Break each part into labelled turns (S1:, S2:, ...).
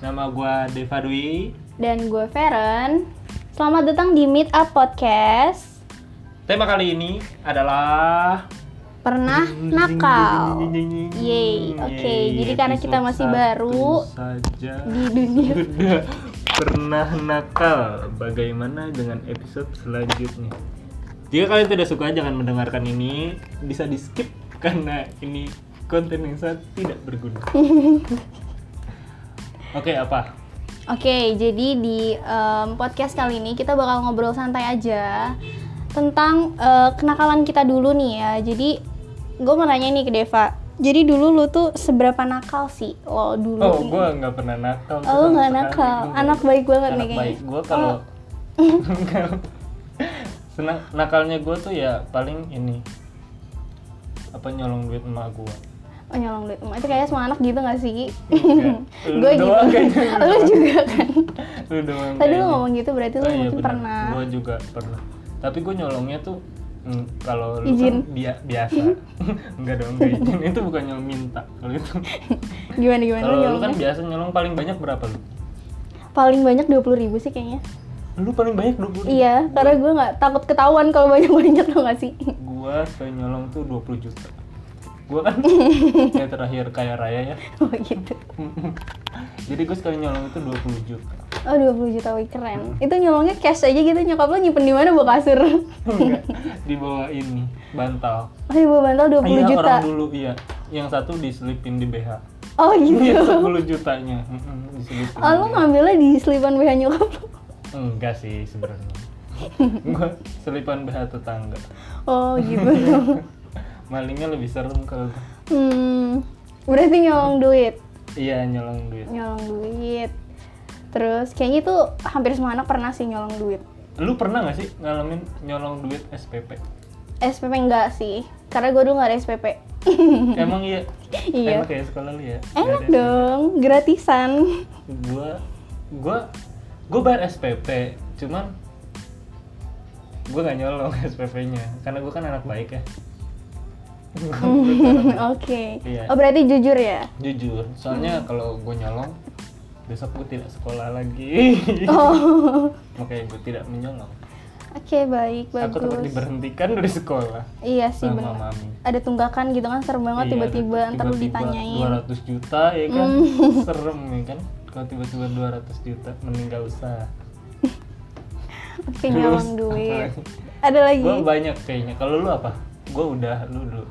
S1: Nama gua Deva Dwi.
S2: Dan gue Feren. Selamat datang di Meet Up Podcast.
S1: Tema kali ini adalah
S2: Pernah nakal Yeay, oke.
S1: Yeay,
S2: Jadi karena kita
S1: episode
S2: masih
S1: satu
S2: baru
S1: saja
S2: di dunia.
S1: sudah pernah nakal. Bagaimana dengan episode selanjutnya? Jika kalian tidak suka jangan mendengarkan ini, bisa di skip karena ini konten yang sangat tidak berguna. Oke, apa?
S2: Oke, jadi di em, podcast kali ini kita bakal ngobrol santai aja tentang eh, kenakalan kita dulu nih ya. Jadi gue mau nanya nih ke Deva. Jadi dulu lu tuh seberapa nakal sih lo dulu?
S1: Oh,
S2: nih?
S1: gua nggak pernah nakal.
S2: Oh, lu nggak nakal. Anak baik banget nih
S1: anak
S2: kayaknya. Oh.
S1: baik gue kalau senang nakalnya gue tuh ya paling ini apa nyolong duit emak gue
S2: Oh nyolong duit emak. itu kayak semua anak gitu gak sih?
S1: Enggak. Lu
S2: gue gitu,
S1: Iya. doang kayaknya.
S2: lu juga kan.
S1: lu doang Oh,
S2: Tadi lu ngomong gitu berarti
S1: Nah, iya,
S2: lu mungkin pernah.
S1: gue juga pernah tapi gue nyolongnya tuh mm, kalau lu
S2: Izin.
S1: kan bia- biasa enggak dong enggak izin itu bukan nyolong minta kalau itu
S2: Gimana gimana lu
S1: kalau lu kan
S2: nyolongnya?
S1: biasa nyolong paling banyak berapa lu
S2: Paling banyak dua puluh ribu sih kayaknya.
S1: lu paling banyak dua puluh
S2: Iya, karena gue nggak takut ketahuan kalau banyak banyak tau gak sih?
S1: gua sekali nyolong tuh 20 juta gua kan yang terakhir kaya raya ya
S2: Oh gitu.
S1: jadi gua sekali nyolong itu 20 juta
S2: Oh 20 juta wih keren. Itu nyolongnya cash aja gitu nyokap lu nyimpen di mana bawa kasur?
S1: enggak di bawah ini bantal
S2: Oh ibu bantal 20
S1: iya
S2: juta.
S1: orang dulu iya yang satu diselipin di BH
S2: Oh
S1: Iya,
S2: gitu.
S1: 10 jutanya Mm-mm, diselipin
S2: Oh lu
S1: di BH.
S2: ngambilnya di selipan BH nyokap lu?
S1: enggak sih sebenarnya gua selipan BH tetangga
S2: Oh gitu.
S1: malingnya lebih serem kalau gua.
S2: Hmm, berarti nyolong duit,
S1: iya nyolong duit
S2: nyolong duit. Terus kayaknya itu hampir semua anak pernah sih nyolong duit.
S1: lu pernah nggak sih ngalamin nyolong duit SPP
S2: SPP enggak sih, karena gue dulu nggak ada SPP.
S1: emang iya
S2: Iya.
S1: enak ya sekolah lu ya Nggak
S2: Enak
S1: ada
S2: dong, gratisan.
S1: gua gua gua bayar SPP cuman gua gak nyolong SPP-nya karena gua kan anak baik ya
S2: Oke.
S1: Iya.
S2: Oh berarti jujur ya?
S1: jujur
S2: Hmm.
S1: soalnya kalau gua nyolong besok gua tidak sekolah lagi
S2: Oh.
S1: makanya gua tidak menyolong
S2: Oke baik
S1: aku takut
S2: bagus.
S1: diberhentikan dari sekolah
S2: Iya sih
S1: sama
S2: benar.
S1: mami Iya,
S2: Ada tunggakan gitu kan serem banget tiba-tiba ntar lu ditanyain. Hmm.
S1: 200 juta ya kan serem ya kan kalau tiba-tiba 200 juta mending gak usah
S2: Oke
S1: Terus,
S2: nyolong
S1: apa
S2: duit.
S1: lagi?
S2: Ada lagi?
S1: Gua banyak kayaknya kalau lu apa Gua udah lu dulu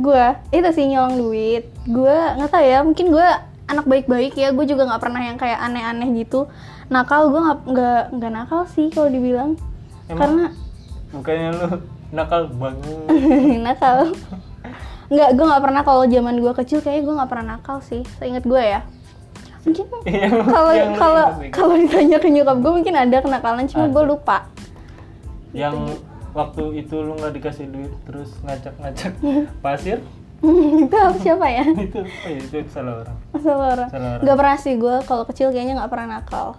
S2: Gua itu sih nyolong duit Gua nggak tahu ya mungkin gua anak baik-baik ya gue juga nggak pernah yang kayak aneh-aneh gitu nakal gue nggak nggak nggak nakal sih kalau dibilang
S1: Emang? bukannya lu nakal banget
S2: karena nakal nggak gue nggak pernah kalau zaman gua kecil kayaknya gue nggak pernah nakal sih seingat gue ya mungkin
S1: Yang-
S2: kalau
S1: yang Iya, gitu. lu
S2: kalau
S1: inget sih.
S2: kalau ditanya ke nyokap gue mungkin ada kenakalan cuma
S1: Ada.
S2: gue lupa
S1: yang waktu itu lu nggak dikasih duit terus ngacak-ngacak pasir
S2: itu apa siapa ya
S1: itu oh iya, itu salah orang
S2: salah orang
S1: Salah orang.
S2: nggak pernah sih gue kalau kecil kayaknya nggak pernah nakal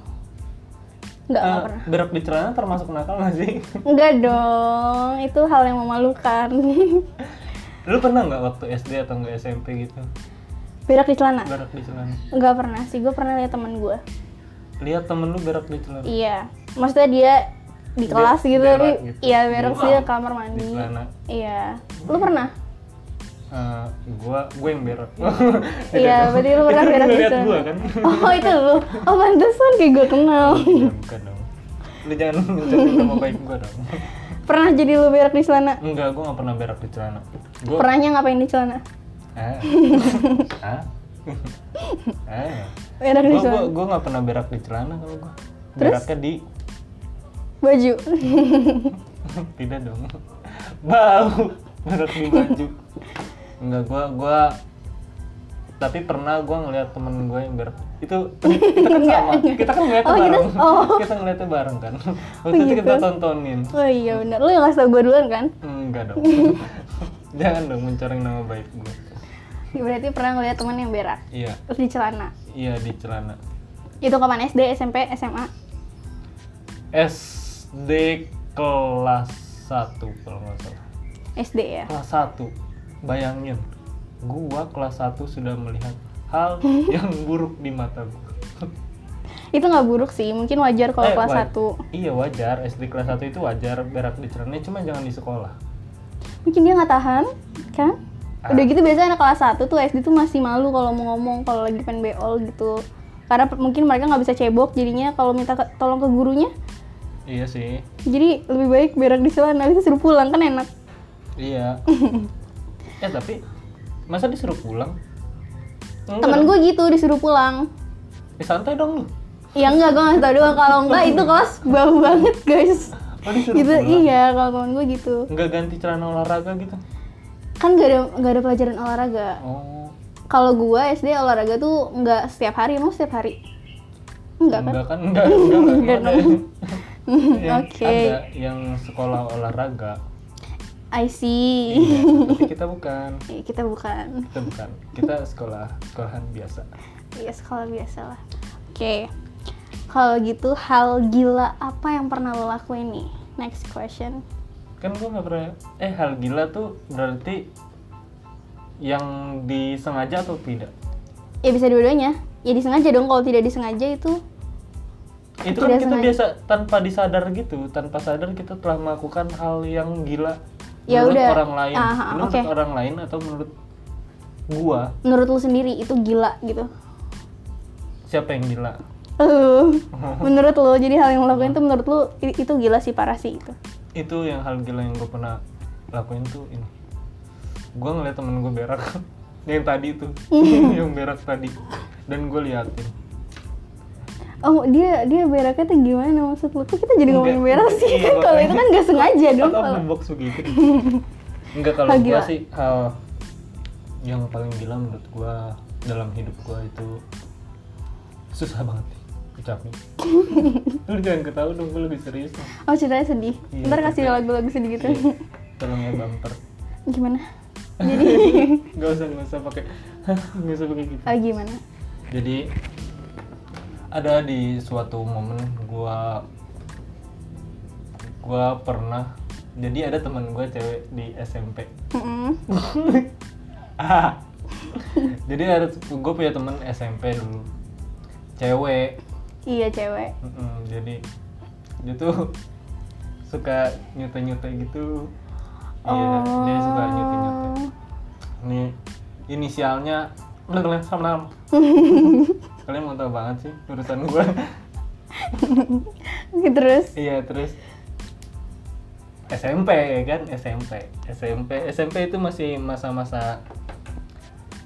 S2: nggak nggak
S1: Eh,
S2: pernah
S1: berak di celana termasuk nakal nggak sih
S2: Enggak dong, itu hal yang memalukan.
S1: lu pernah nggak waktu SD atau nggak SMP gitu
S2: berak di celana?
S1: berak di celana
S2: Enggak pernah sih, gue pernah lihat teman gue.
S1: lihat temen lu berak di celana
S2: Iya, maksudnya dia di
S1: Dia
S2: kelas gitu,
S1: berak
S2: tapi
S1: gitu.
S2: iya berak sih
S1: Wow.
S2: ke kamar mandi.
S1: di celana
S2: Iya, lu pernah?
S1: Eh, gua gua yang berak Eh,
S2: iya, berarti lu pernah berak di
S1: lihat
S2: celana.
S1: gua kan
S2: Oh itu lu, oh pantesan kayak gue kenal.
S1: Iya, bukan dong lu jangan mencetin nama baik gua dong
S2: pernah jadi lu berak di celana?
S1: enggak gua nggak pernah berak di celana gua
S2: Pernahnya ngapain di celana?
S1: ah ah ah
S2: Berak di
S1: gua gua
S2: celana,
S1: gua nggak pernah berak di celana kalau gua
S2: Terus?
S1: beraknya di
S2: baju.
S1: tidak dong bau berak di baju enggak gua gua tapi pernah gua ngeliat temen gua yang berak itu kita kan sama kita kan ngeliatnya
S2: Oh, kita-
S1: bareng
S2: oh.
S1: kita ngeliatnya bareng kan waktu itu kita tontonin
S2: Oh iya benar, lu yang ngasih tau gue duluan kan?
S1: enggak dong jangan dong mencoreng nama baik gua
S2: Berarti pernah ngeliat temen yang berak,
S1: iya
S2: terus di celana.
S1: iya di celana
S2: Itu kapan SD, SMP, SMA?
S1: SD kelas 1 kalau nggak salah
S2: SD ya.
S1: kelas 1 bayangin gua kelas 1 sudah melihat hal yang buruk di mata gua
S2: itu nggak buruk sih mungkin wajar kalau
S1: Eh,
S2: kelas
S1: wa-
S2: 1
S1: Iya wajar, SD kelas 1 itu wajar berak di cerna, cuma jangan di sekolah. Ah,
S2: mungkin dia nggak tahan kan udah gitu biasanya anak kelas 1 tuh SD tuh masih malu kalau mau ngomong kalau lagi pengen beol gitu karena pe- mungkin mereka nggak bisa cebok jadinya kalau minta ke- tolong ke gurunya
S1: Iya sih.
S2: jadi lebih baik berak di celana bisa suruh pulang kan enak
S1: Iya. eh tapi masa disuruh pulang? Enggak
S2: temen
S1: dong.
S2: gue gitu disuruh pulang
S1: Eh, santai dong lu.
S2: ya enggak gue ngasih tau doang kalau enggak itu kelas bau banget guys
S1: Oh, disuruh
S2: gitu
S1: pulang.
S2: iya kalau temen gue gitu
S1: Enggak ganti celana olahraga gitu.
S2: kan gak ada nggak ada pelajaran olahraga
S1: Oh.
S2: kalau gue SD olahraga tuh nggak setiap hari emang setiap hari enggak kan
S1: Enggak kan? Enggak, enggak,
S2: Enggak
S1: Mana
S2: dong.
S1: ya? Yang
S2: oke
S1: Ada yang sekolah olahraga.
S2: I see
S1: Iya, tapi kita bukan.
S2: Ya, kita bukan
S1: Kita bukan. Kita sekolah sekolahan biasa.
S2: ya sekolah biasa lah oke kalau gitu hal gila apa yang pernah lo lakuin nih next question
S1: Kan gua nggak pernah eh hal gila tuh berarti yang disengaja atau tidak?
S2: ya bisa dua-duanya ya disengaja dong kalau tidak disengaja itu
S1: itu
S2: Tidak
S1: kan kita
S2: sengaja.
S1: biasa tanpa disadar gitu tanpa sadar kita telah melakukan hal yang gila
S2: Ya
S1: menurut
S2: udah.
S1: orang lain
S2: Aha,
S1: menurut
S2: oke.
S1: orang lain atau menurut gua
S2: menurut lo sendiri itu gila gitu
S1: siapa yang gila
S2: Eh, menurut lo jadi hal yang lo lakuin tuh menurut lo i- itu gila sih parah sih itu
S1: itu yang hal gila yang gua pernah lakuin tuh ini gua ngeliat temen gua berak yang tadi tuh
S2: Iya.
S1: yang berak tadi dan gua liatin
S2: oh dia dia beraknya tuh gimana maksud lo kok kita jadi
S1: Enggak.
S2: ngomongin berak sih
S1: Iya,
S2: kan kalau itu kan nggak sengaja dong
S1: out of
S2: kalau
S1: the box begitu enggak kalau
S2: Hal
S1: gua
S2: gila.
S1: sih hal yang paling gila menurut gua dalam hidup gua itu susah banget nih ucapnya lu jangan ketawa dong gua lebih serius nih.
S2: oh ceritanya sedih
S1: Iya,
S2: ntar kasih
S1: cerita.
S2: lagu-lagu sedih gitu
S1: Iya. tolong ya bumper
S2: gimana
S1: nggak usah nggak usah pakai nggak usah pakai gitu
S2: oh gimana
S1: jadi ada di suatu momen gua gua pernah jadi ada teman gua cewek di SMP
S2: Mm-mm.
S1: jadi ada gue punya temen SMP dulu cewek
S2: iya cewek
S1: Mm-mm, jadi dia tuh suka nyute nyute gitu iya dia suka nyute nyute
S2: Oh.
S1: ini inisialnya udah kalian sama sama. kalian mau tau banget sih urusan gue
S2: terus
S1: iya terus SMP kan SMP SMP SMP itu masih masa-masa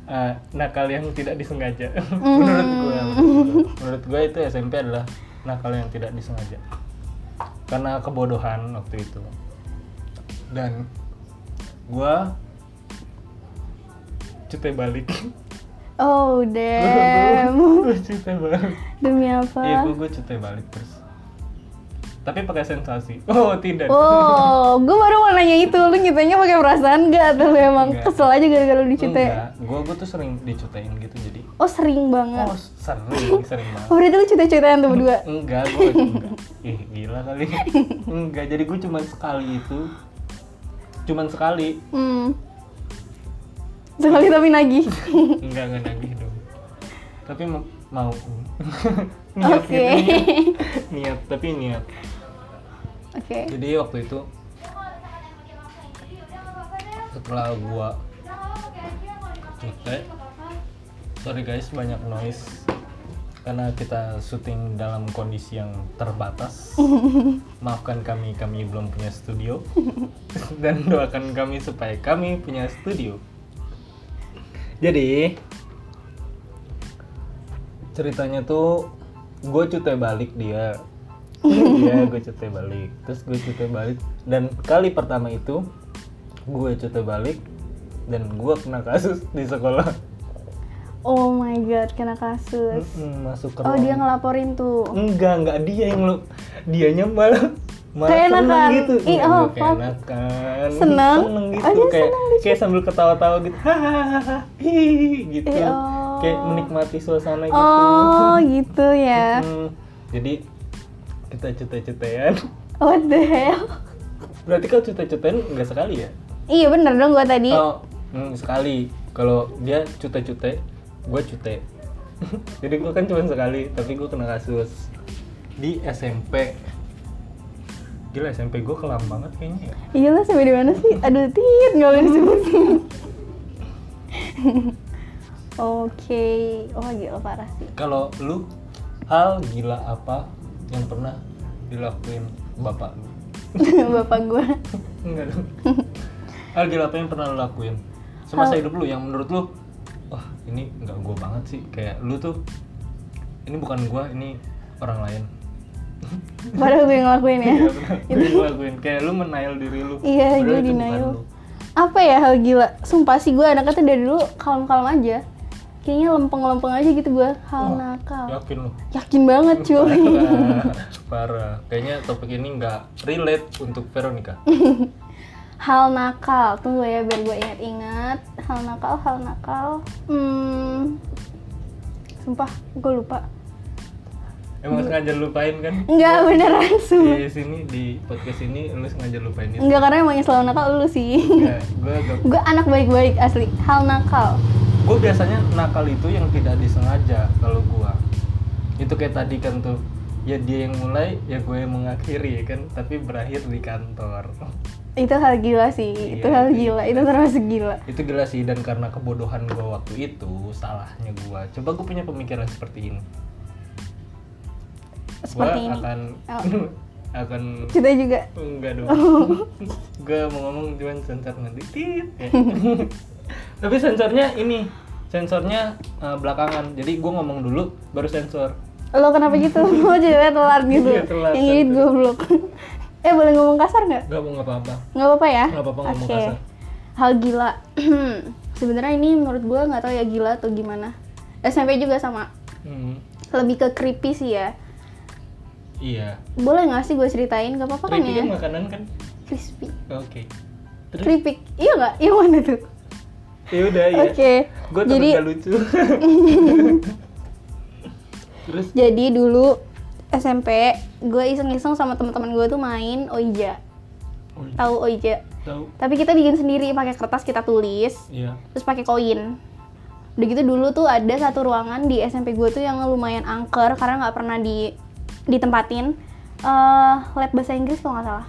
S1: eh, nakal yang tidak disengaja menurut gue menurut gue itu SMP adalah nakal yang tidak disengaja karena kebodohan waktu itu dan gue cute balik
S2: oh damn
S1: gue cute balik
S2: demi
S1: iya
S2: apa
S1: gue gue cute balik terus tapi pakai sensasi oh tidak
S2: Oh, gue baru mau nanya itu, lu nyitanya pakai perasaan gak? Atau lu emang
S1: Enggak.
S2: kesel aja gara-gara lu dicute?
S1: Enggak, gua gua tuh sering dicutain gitu jadi
S2: Oh sering banget.
S1: oh sering sering banget.
S2: Oh, berarti lu cute-cutean tuh berdua?
S1: Enggak, gua enggak. Ih, gila kali. Enggak, jadi gua cuman sekali itu. Cuman sekali.
S2: Hmm. Sekali tapi nagih.
S1: Enggak enggak nagih dong. Tapi mau, mau. niat
S2: Oke.
S1: gitu, niat. niat, tapi niat.
S2: Oke.
S1: Jadi waktu itu setelah gua cute sorry guys banyak noise karena kita syuting dalam kondisi yang terbatas maafkan kami kami belum punya studio dan doakan kami supaya kami punya studio jadi ceritanya tuh gue cute balik dia iya gue cute balik terus gue cute balik dan kali pertama itu gue cute balik dan gue kena kasus di sekolah
S2: Oh my god, kena kasus.
S1: Mm-mm, masuk ke
S2: Oh,
S1: ruang.
S2: dia ngelaporin tuh.
S1: enggak enggak dia yang lu dianya malah malah
S2: Keenakan.
S1: seneng gitu
S2: Ih,
S1: Enggak,
S2: oh,
S1: gua keenakan
S2: Seneng?
S1: gitu
S2: Oh, dia
S1: kayak kayak sambil ketawa-tawa gitu hahaha hihihi, gitu
S2: Ih, oh.
S1: kayak menikmati suasana gitu
S2: Oh, gitu ya.
S1: Mm, jadi kita cute-cutean
S2: What the hell?
S1: berarti kau cute-cutean enggak sekali ya
S2: Iya bener dong gua tadi.
S1: hmm, Oh, mm, sekali. Kalau dia cute-cute, gue cute. jadi gue kan cuma sekali tapi gue kena kasus di SMP gila SMP gue kelam banget kayaknya ya
S2: Iya lah sampai di mana sih? Aduh tit nggak boleh disebut. Oke, oh gila parah sih.
S1: kalau lu hal gila apa yang pernah dilakuin bapak lu
S2: Bapak gua
S1: enggak dong hal gila apa yang pernah lu lakuin semasa hidup lu yang menurut lu wah ini nggak gua banget sih kayak lu tuh ini bukan gua ini orang lain
S2: Padahal gue yang ngelakuin ya.
S1: Iya, benar. Yang gua lakuin kayak lu menail diri lu
S2: Iya,
S1: Padahal
S2: gue
S1: itu bukan
S2: denial.
S1: lu.
S2: Apa ya hal gila? Sumpah sih gua anaknya tuh dari dulu kalem-kalem aja. Kayaknya lempeng-lempeng aja gitu gua hal
S1: Oh,
S2: nakal.
S1: yakin lu
S2: Yakin banget cuy.
S1: parah, parah. kayaknya topik ini nggak relate untuk Veronica
S2: Hal nakal, tunggu ya biar gue ingat-ingat. Hal nakal, hal nakal. Hmm, sumpah gue lupa.
S1: emang sengaja lupain kan
S2: Enggak beneran sumpah.
S1: di sini di podcast ini lu sengaja lupain itu
S2: Enggak karena emang yang selalu nakal lu sih.
S1: Nggak, gua agak-
S2: gue anak baik-baik asli. Hal nakal.
S1: gue biasanya nakal itu yang tidak disengaja kalau gua itu kayak tadi kan tuh ya dia yang mulai ya gue yang mengakhiri ya kan tapi berakhir di kantor
S2: Itu hal gila sih. itu
S1: Iya,
S2: hal
S1: itu
S2: gila. Itu termasuk gila.
S1: itu gila sih dan karena kebodohan gua waktu itu salahnya gua coba gue punya pemikiran seperti ini
S2: Seperti
S1: Gua
S2: ini. Oh.
S1: akan akan
S2: Kita juga.
S1: enggak dong gue mau ngomong cuman sensor nanti tit ya. tapi sensornya ini sensornya eh, belakangan jadi gue ngomong dulu baru sensor
S2: Lo kenapa gitu? Lo jadi telat gitu.
S1: Iya, telat,
S2: yang
S1: telat.
S2: ini goblok. eh boleh ngomong kasar nggak?
S1: gak mau nggak apa-apa
S2: nggak apa-apa ya
S1: Nggak apa-apa ngomong
S2: Oke.
S1: kasar.
S2: hal gila sebenarnya ini menurut gue nggak tahu ya gila atau gimana SMP juga sama
S1: Hmm,
S2: lebih ke creepy sih ya
S1: iya
S2: boleh nggak sih gue ceritain nggak apa-apa kan
S1: Keripik
S2: ya
S1: kan makanan kan
S2: crispy
S1: oke terus
S2: keripik iya nggak iya mana tuh
S1: ya udah ya
S2: oke
S1: gue
S2: jadi
S1: gak lucu terus
S2: jadi dulu SMP gue iseng-iseng sama teman-teman gue tuh main oija
S1: oh,
S2: tahu oija
S1: tahu
S2: tapi kita bikin sendiri pakai kertas kita tulis
S1: iya
S2: terus pakai koin udah gitu dulu tuh ada satu ruangan di SMP gue tuh yang lumayan angker karena nggak pernah di ditempatin eh lab bahasa Inggris kalau nggak salah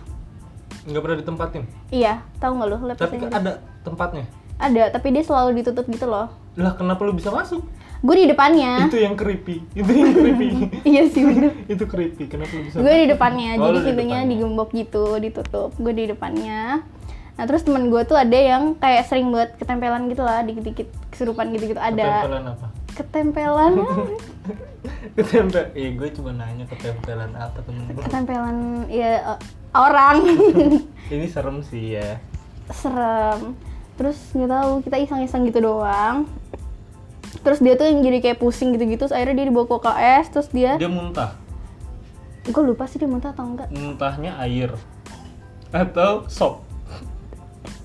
S1: nggak pernah ditempatin
S2: iya tahu nggak lo lab bahasa
S1: tapi kan-
S2: Inggris
S1: ada tempatnya
S2: ada tapi dia selalu ditutup gitu loh
S1: lah kenapa lu bisa masuk
S2: gue di depannya
S1: itu ya? yang creepy itu yang creepy
S2: iya sih bener
S1: itu creepy kenapa lu bisa
S2: gue di depannya
S1: Oh,
S2: jadi
S1: lu di
S2: pintunya
S1: depannya.
S2: digembok gitu ditutup gue di depannya nah terus temen gue tuh ada yang kayak sering buat ketempelan gitu lah dikit-dikit kesurupan gitu-gitu ada
S1: ketempelan apa
S2: ketempelan
S1: ketempel eh gue cuma nanya ketempelan apa temen lu?
S2: ketempelan ya eh, orang
S1: ini serem sih ya
S2: serem terus nggak tahu kita iseng-iseng gitu doang terus dia tuh yang jadi kayak pusing gitu-gitu terus akhirnya dia dibawa ke UKS terus dia,
S1: dia muntah
S2: gue lupa sih dia muntah atau enggak
S1: muntahnya air atau sop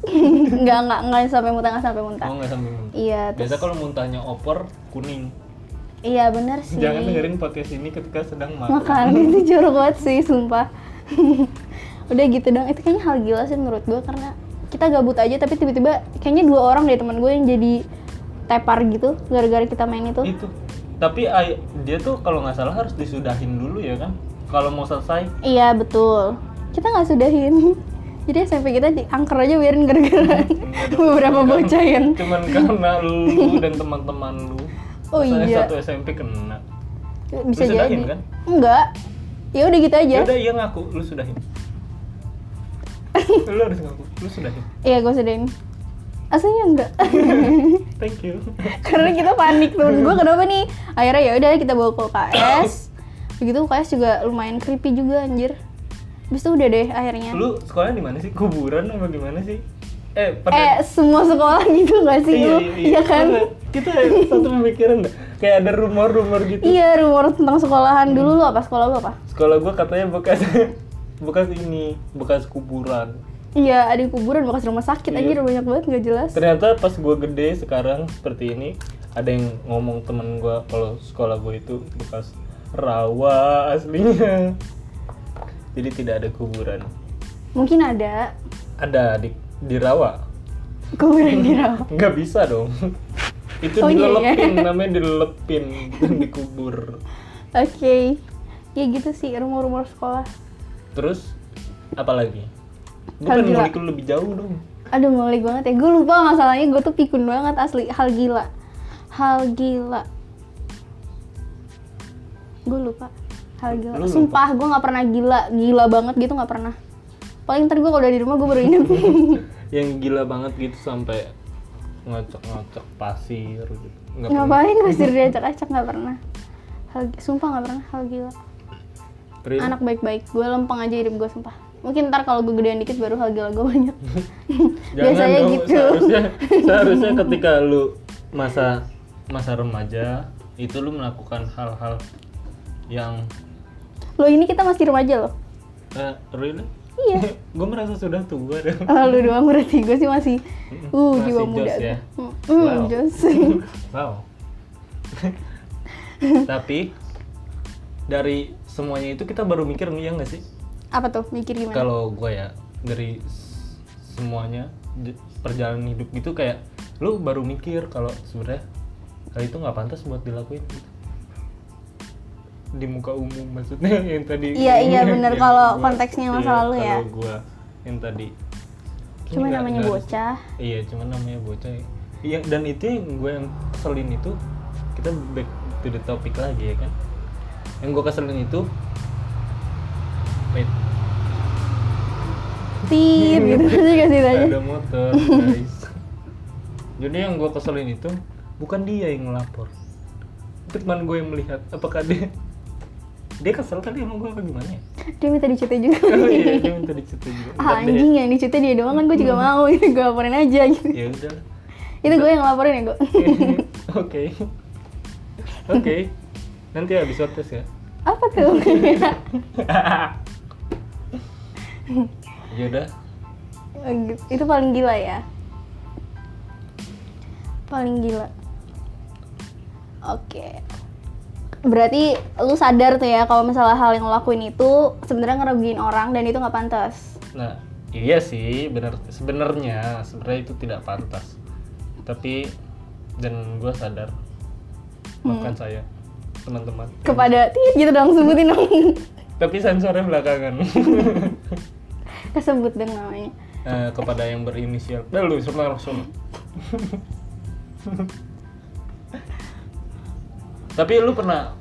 S2: enggak enggak enggak sampai muntah enggak sampai muntah
S1: mau nggak sambil muntah
S2: iya terus
S1: Oh. biasa kalau muntahnya opor kuning
S2: iya bener sih
S1: jangan dengerin podcast ini ketika sedang makan
S2: makan itu jorok banget sih sumpah udah gitu dong itu kayaknya hal gila sih menurut gue karena kita gabut aja tapi tiba-tiba kayaknya dua orang deh teman gue yang jadi tepar gitu gara-gara kita main itu
S1: itu tapi ai- dia tuh kalau nggak salah harus disudahin dulu ya kan kalau mau selesai
S2: Iya betul. Kita nggak sudahin. Jadi SMP kita diangker aja biarin gara-gara beberapa bocah yang
S1: cuman karena lu dan teman-teman lu
S2: Oh
S1: Masa
S2: iya.
S1: satu SMP kena
S2: bisa
S1: Lu sudahin,
S2: jadi.
S1: kan?
S2: Enggak. Ya udah gitu aja.
S1: ya udah iya ngaku lu sudahin lu harus ngaku lu sudahin
S2: Iya gue sudahin. Aslinya enggak.
S1: thank you
S2: Karena kita panik tuh. Gue kenapa nih? Akhirnya ya udah kita bawa ke KS. Begitu KS juga lumayan creepy juga anjir. Habis itu udah deh akhirnya.
S1: lu sekolahnya di mana sih kuburan apa gimana sih eh
S2: eh semua sekolah gitu gak sih lu? Iya kan?
S1: Bener. kita satu pemikiran dah. kayak ada rumor-rumor gitu
S2: Iya rumor tentang sekolahan dulu lu apa sekolah lu apa?
S1: sekolah gua katanya bekas bekas ini bekas kuburan
S2: Iya, ada kuburan bekas rumah sakit
S1: Iya.
S2: anjir banyak banget nggak jelas.
S1: ternyata pas gua gede sekarang seperti ini ada yang ngomong temen gua kalau sekolah gua itu bekas rawa aslinya jadi tidak ada kuburan
S2: Mungkin ada
S1: ada di di rawa
S2: kuburan di rawa.
S1: nggak bisa dong itu
S2: Oh, iya, iya.
S1: dilelepin namanya dilelepin dikubur
S2: Oke. Ya gitu sih rumor-rumor sekolah.
S1: terus apa lagi
S2: Hal
S1: bukan
S2: gila.
S1: ngulik lu lebih jauh dong
S2: Aduh ngulik banget ya. Gue lupa masalahnya gue tuh pikun banget asli. Hal gila. Hal gila. Gue lupa. Hal gila.
S1: Lu lupa?
S2: Sumpah gue nggak pernah gila. Gila banget gitu nggak pernah. Paling ntar gue kalau udah di rumah gue baru inget.
S1: yang gila banget gitu sampai ngocok-ngocok pasir gitu. Nggak pernah.
S2: Ngapain masih diacak-acak nggak pernah. Hal, sumpah nggak pernah hal gila.
S1: Real.
S2: Anak baik-baik. Gue lempeng aja hidup gue sumpah. Mungkin ntar kalau gue gedean dikit baru hal gila gue banyak.
S1: Jangan
S2: Biasanya
S1: dong,
S2: gitu.
S1: Seharusnya, seharusnya ketika lu masa masa remaja itu lu melakukan hal-hal yang
S2: Lo ini kita masih remaja loh.
S1: eh, really?
S2: Iya.
S1: gue merasa sudah tua dong.
S2: Oh, lu doang berarti gue sih masih uh
S1: Masih
S2: jiwa muda
S1: jos ya.
S2: tuh. Mm,
S1: Wow.
S2: jos.
S1: Wow. Tapi dari semuanya itu kita baru mikir nih ya nggak sih?
S2: Apa tuh mikir gimana?
S1: kalau gue ya dari s- semuanya di- perjalanan hidup gitu kayak lu baru mikir kalau sebenarnya hal itu nggak pantas buat dilakuin gitu. di muka umum maksudnya yang tadi
S2: Iya, iya, bener.
S1: yang
S2: Kalau
S1: gua-
S2: konteksnya masa
S1: iya,
S2: lalu ya.
S1: kalau gua yang tadi ini
S2: Cuma
S1: nggak-
S2: namanya
S1: nggak harus-
S2: bocah.
S1: iya cuma namanya bocah ya. iya dan itu yang gue yang keselin itu kita back to the topic lagi ya kan yang gue keselin itu wait
S2: Tit gitu aja gak sih tanya.
S1: ada motor guys jadi yang gue keselin itu bukan dia yang ngelapor itu cuman gue yang melihat apakah dia dia kesel tadi sama gue apa gimana ya
S2: Dia minta dicuti juga.
S1: oh iya Mm. dia minta dicetai juga
S2: Ah,
S1: Ntar deh.
S2: anjing yang dicuti dia doang kan gue juga mau itu gue laporin aja gitu.
S1: ya udah
S2: Itu gue yang laporin ya gue.
S1: oke oke nanti habis waktu ya
S2: Apa tuh?
S1: ya udah
S2: itu paling gila ya. Paling gila. Oke. Berarti lu sadar tuh ya kalau misalnya hal yang lo lakuin itu sebenarnya ngerugiin orang dan itu nggak pantas.
S1: Nah, iya sih, bener sebenarnya sebenarnya itu tidak pantas. Tapi dan gue sadar, maafkan saya, teman-teman.
S2: Kepada tit gitu dong sebutin dong.
S1: Tapi sensornya belakangan.
S2: Kesebut dong namanya.
S1: Eh, kepada yang berinisial, dah lu semua langsung. Tapi lu pernah,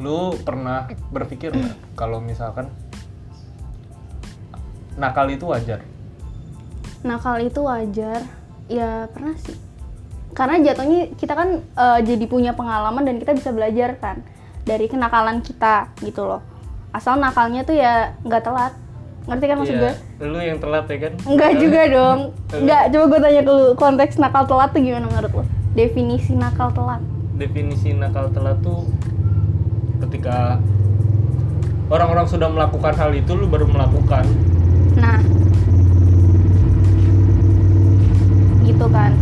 S1: lu pernah berpikir nggak kalau misalkan nakal itu wajar?
S2: Nakal itu wajar. Ya pernah sih. Karena jatuhnya kita kan eh, jadi punya pengalaman dan kita bisa belajar kan dari kenakalan kita gitu loh. Asal nakalnya tuh ya nggak telat. Ngerti kan maksud gue?
S1: Iya, lu yang telat ya kan?
S2: Enggak juga dong. Enggak, coba gue tanya ke lu, konteks nakal telat tuh gimana menurut lu? Definisi nakal telat.
S1: definisi nakal telat tuh ketika orang-orang sudah melakukan hal itu lu baru melakukan
S2: Nah. Gitu kan.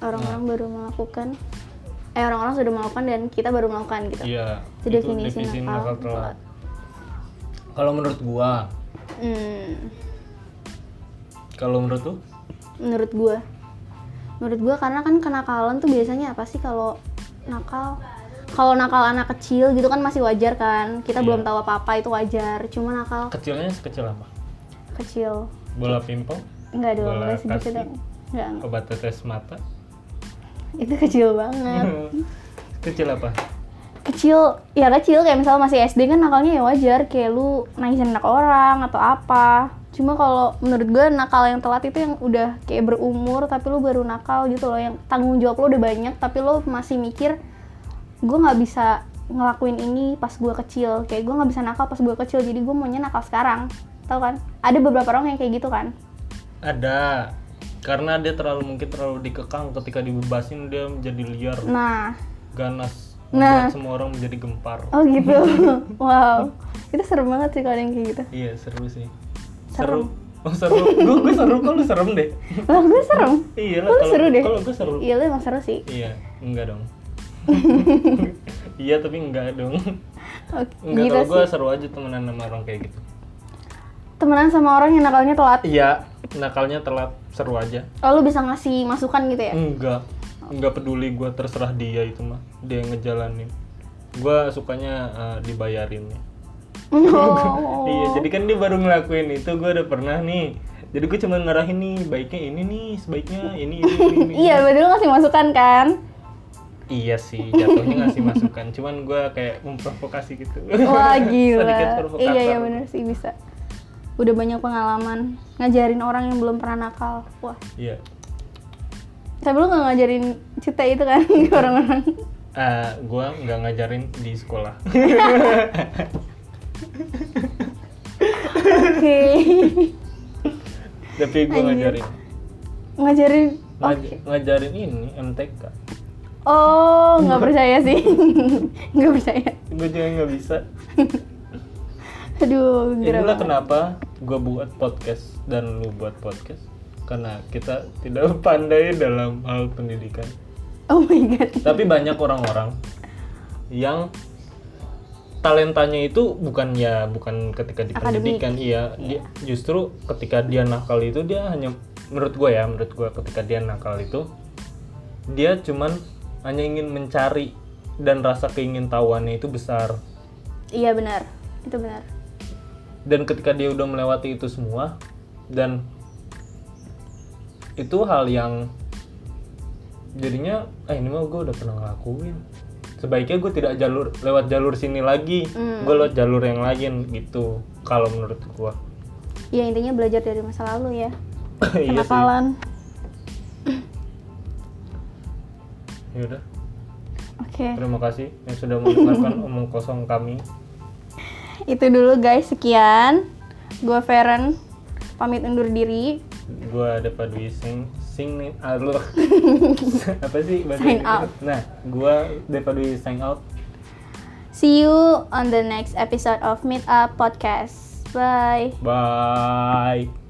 S2: Orang-orang baru melakukan eh orang-orang sudah melakukan dan kita baru melakukan gitu.
S1: iya
S2: Itu definisi nakal telat.
S1: kalau menurut gua
S2: Hmm,
S1: kalau menurut lu
S2: menurut gua. Menurut gua karena kan kenakalan tuh biasanya apa sih kalau nakal? Kalau nakal anak kecil gitu kan masih wajar kan. Kita
S1: Iya.
S2: belum tahu apa-apa itu wajar. Cuma nakal
S1: kecilnya sekecil apa
S2: kecil
S1: bola pingpong
S2: enggak dong
S1: Bola
S2: enggak sedikit
S1: kaki.
S2: dong enggak enggak.
S1: obat tetes mata
S2: itu kecil banget
S1: kecil apa
S2: kecil ya kecil kayak misalnya masih SD kan nakalnya ya wajar kayak lu nangisin anak orang atau apa cuma kalau menurut gue nakal yang telat itu yang udah kayak berumur tapi lu baru nakal gitu loh yang tanggung jawab lu udah banyak tapi lu masih mikir gue nggak bisa ngelakuin ini pas gue kecil kayak gue nggak bisa nakal pas gue kecil jadi gue maunya nakal sekarang tau kan ada beberapa orang yang kayak gitu kan
S1: ada karena dia terlalu mungkin terlalu dikekang ketika dibebasin dia menjadi liar
S2: nah
S1: ganas membuat
S2: Nah.
S1: semua orang menjadi gempar
S2: Oh gitu. wow. Itu serem banget sih kalau ada yang kayak gitu.
S1: Iya seru sih. Seru.
S2: Serem.
S1: Oh seru. gue gue seru kok lu serem deh.
S2: Lah gue serem.
S1: Iya lah.
S2: Kok lu
S1: kalau-
S2: seru deh?
S1: Kalau gue seru.
S2: Iya lu emang seru sih.
S1: Iya. Enggak dong. iya tapi enggak dong.
S2: Oke,
S1: Enggak
S2: gitu
S1: kalau
S2: sih.
S1: gue seru aja temenan sama orang kayak gitu.
S2: Temenan sama orang yang nakalnya telat.
S1: Iya. Nakalnya telat. seru aja
S2: Oh, lu bisa ngasih masukan gitu ya?
S1: enggak enggak peduli gua terserah dia itu mah dia yang ngejalanin gua sukanya eh, dibayarin
S2: Oh.
S1: Hmm. iya jadi kan dia baru ngelakuin itu gua udah pernah nih jadi gue cuma ngarahin nih baiknya ini nih sebaiknya ini ini, ini, ini.
S2: Iya, berarti lu ngasih masukan kan?
S1: Iya sih, jatuhnya ngasih masukan. Cuman gua kayak memprovokasi gitu.
S2: Wah,
S1: Sedikit
S2: gila.
S1: provokator.
S2: Iya, iya bener sih bisa. Udah banyak pengalaman ngajarin orang yang belum pernah nakal. Wah,
S1: Iya.
S2: tapi lu gak ngajarin cita itu kan ke orang-orang.
S1: Eh, gua nggak ngajarin di sekolah.
S2: Oke.
S1: Tapi gua ngajarin.
S2: ngajarin
S1: Ngaj- Ngajarin ini MTK.
S2: Oh, nggak percaya sih. Nggak percaya.
S1: Gua juga nggak bisa.
S2: Aduh,
S1: Itulah
S2: gerah banget.
S1: kenapa gua buat podcast dan lu buat podcast karena kita tidak pandai dalam hal pendidikan.
S2: Oh my god.
S1: Tapi banyak orang-orang yang talentanya itu bukan ya bukan ketika di
S2: Akademik.
S1: pendidikan iya dia- justru ketika dia nakal itu dia hanya menurut gue ya menurut gue ketika dia nakal itu dia cuman hanya ingin mencari dan rasa keingintahuannya itu besar
S2: Iya benar. Itu benar.
S1: dan ketika dia udah melewati itu semua dan itu hal yang jadinya eh ini mah gue udah pernah ngelakuin sebaiknya gue tidak jalur lewat jalur sini lagi
S2: Hmm.
S1: gue lewat jalur yang lain gitu kalau menurut gue
S2: Ya intinya belajar dari masa lalu ya.
S1: iya sih
S2: Kenakalan.
S1: ya udah
S2: Oke.
S1: terima kasih yang sudah mendengarkan omong kosong kami
S2: Itu dulu guys, sekian. Gue Feren pamit undur diri.
S1: gue ada Padwi Sing Sing nih ah, lu. apa sih bahasa
S2: Sign
S1: Inggris?
S2: out.
S1: nah gue Depa Dwi sign out
S2: See you on the next episode of Meet Up Podcast. Bye.
S1: bye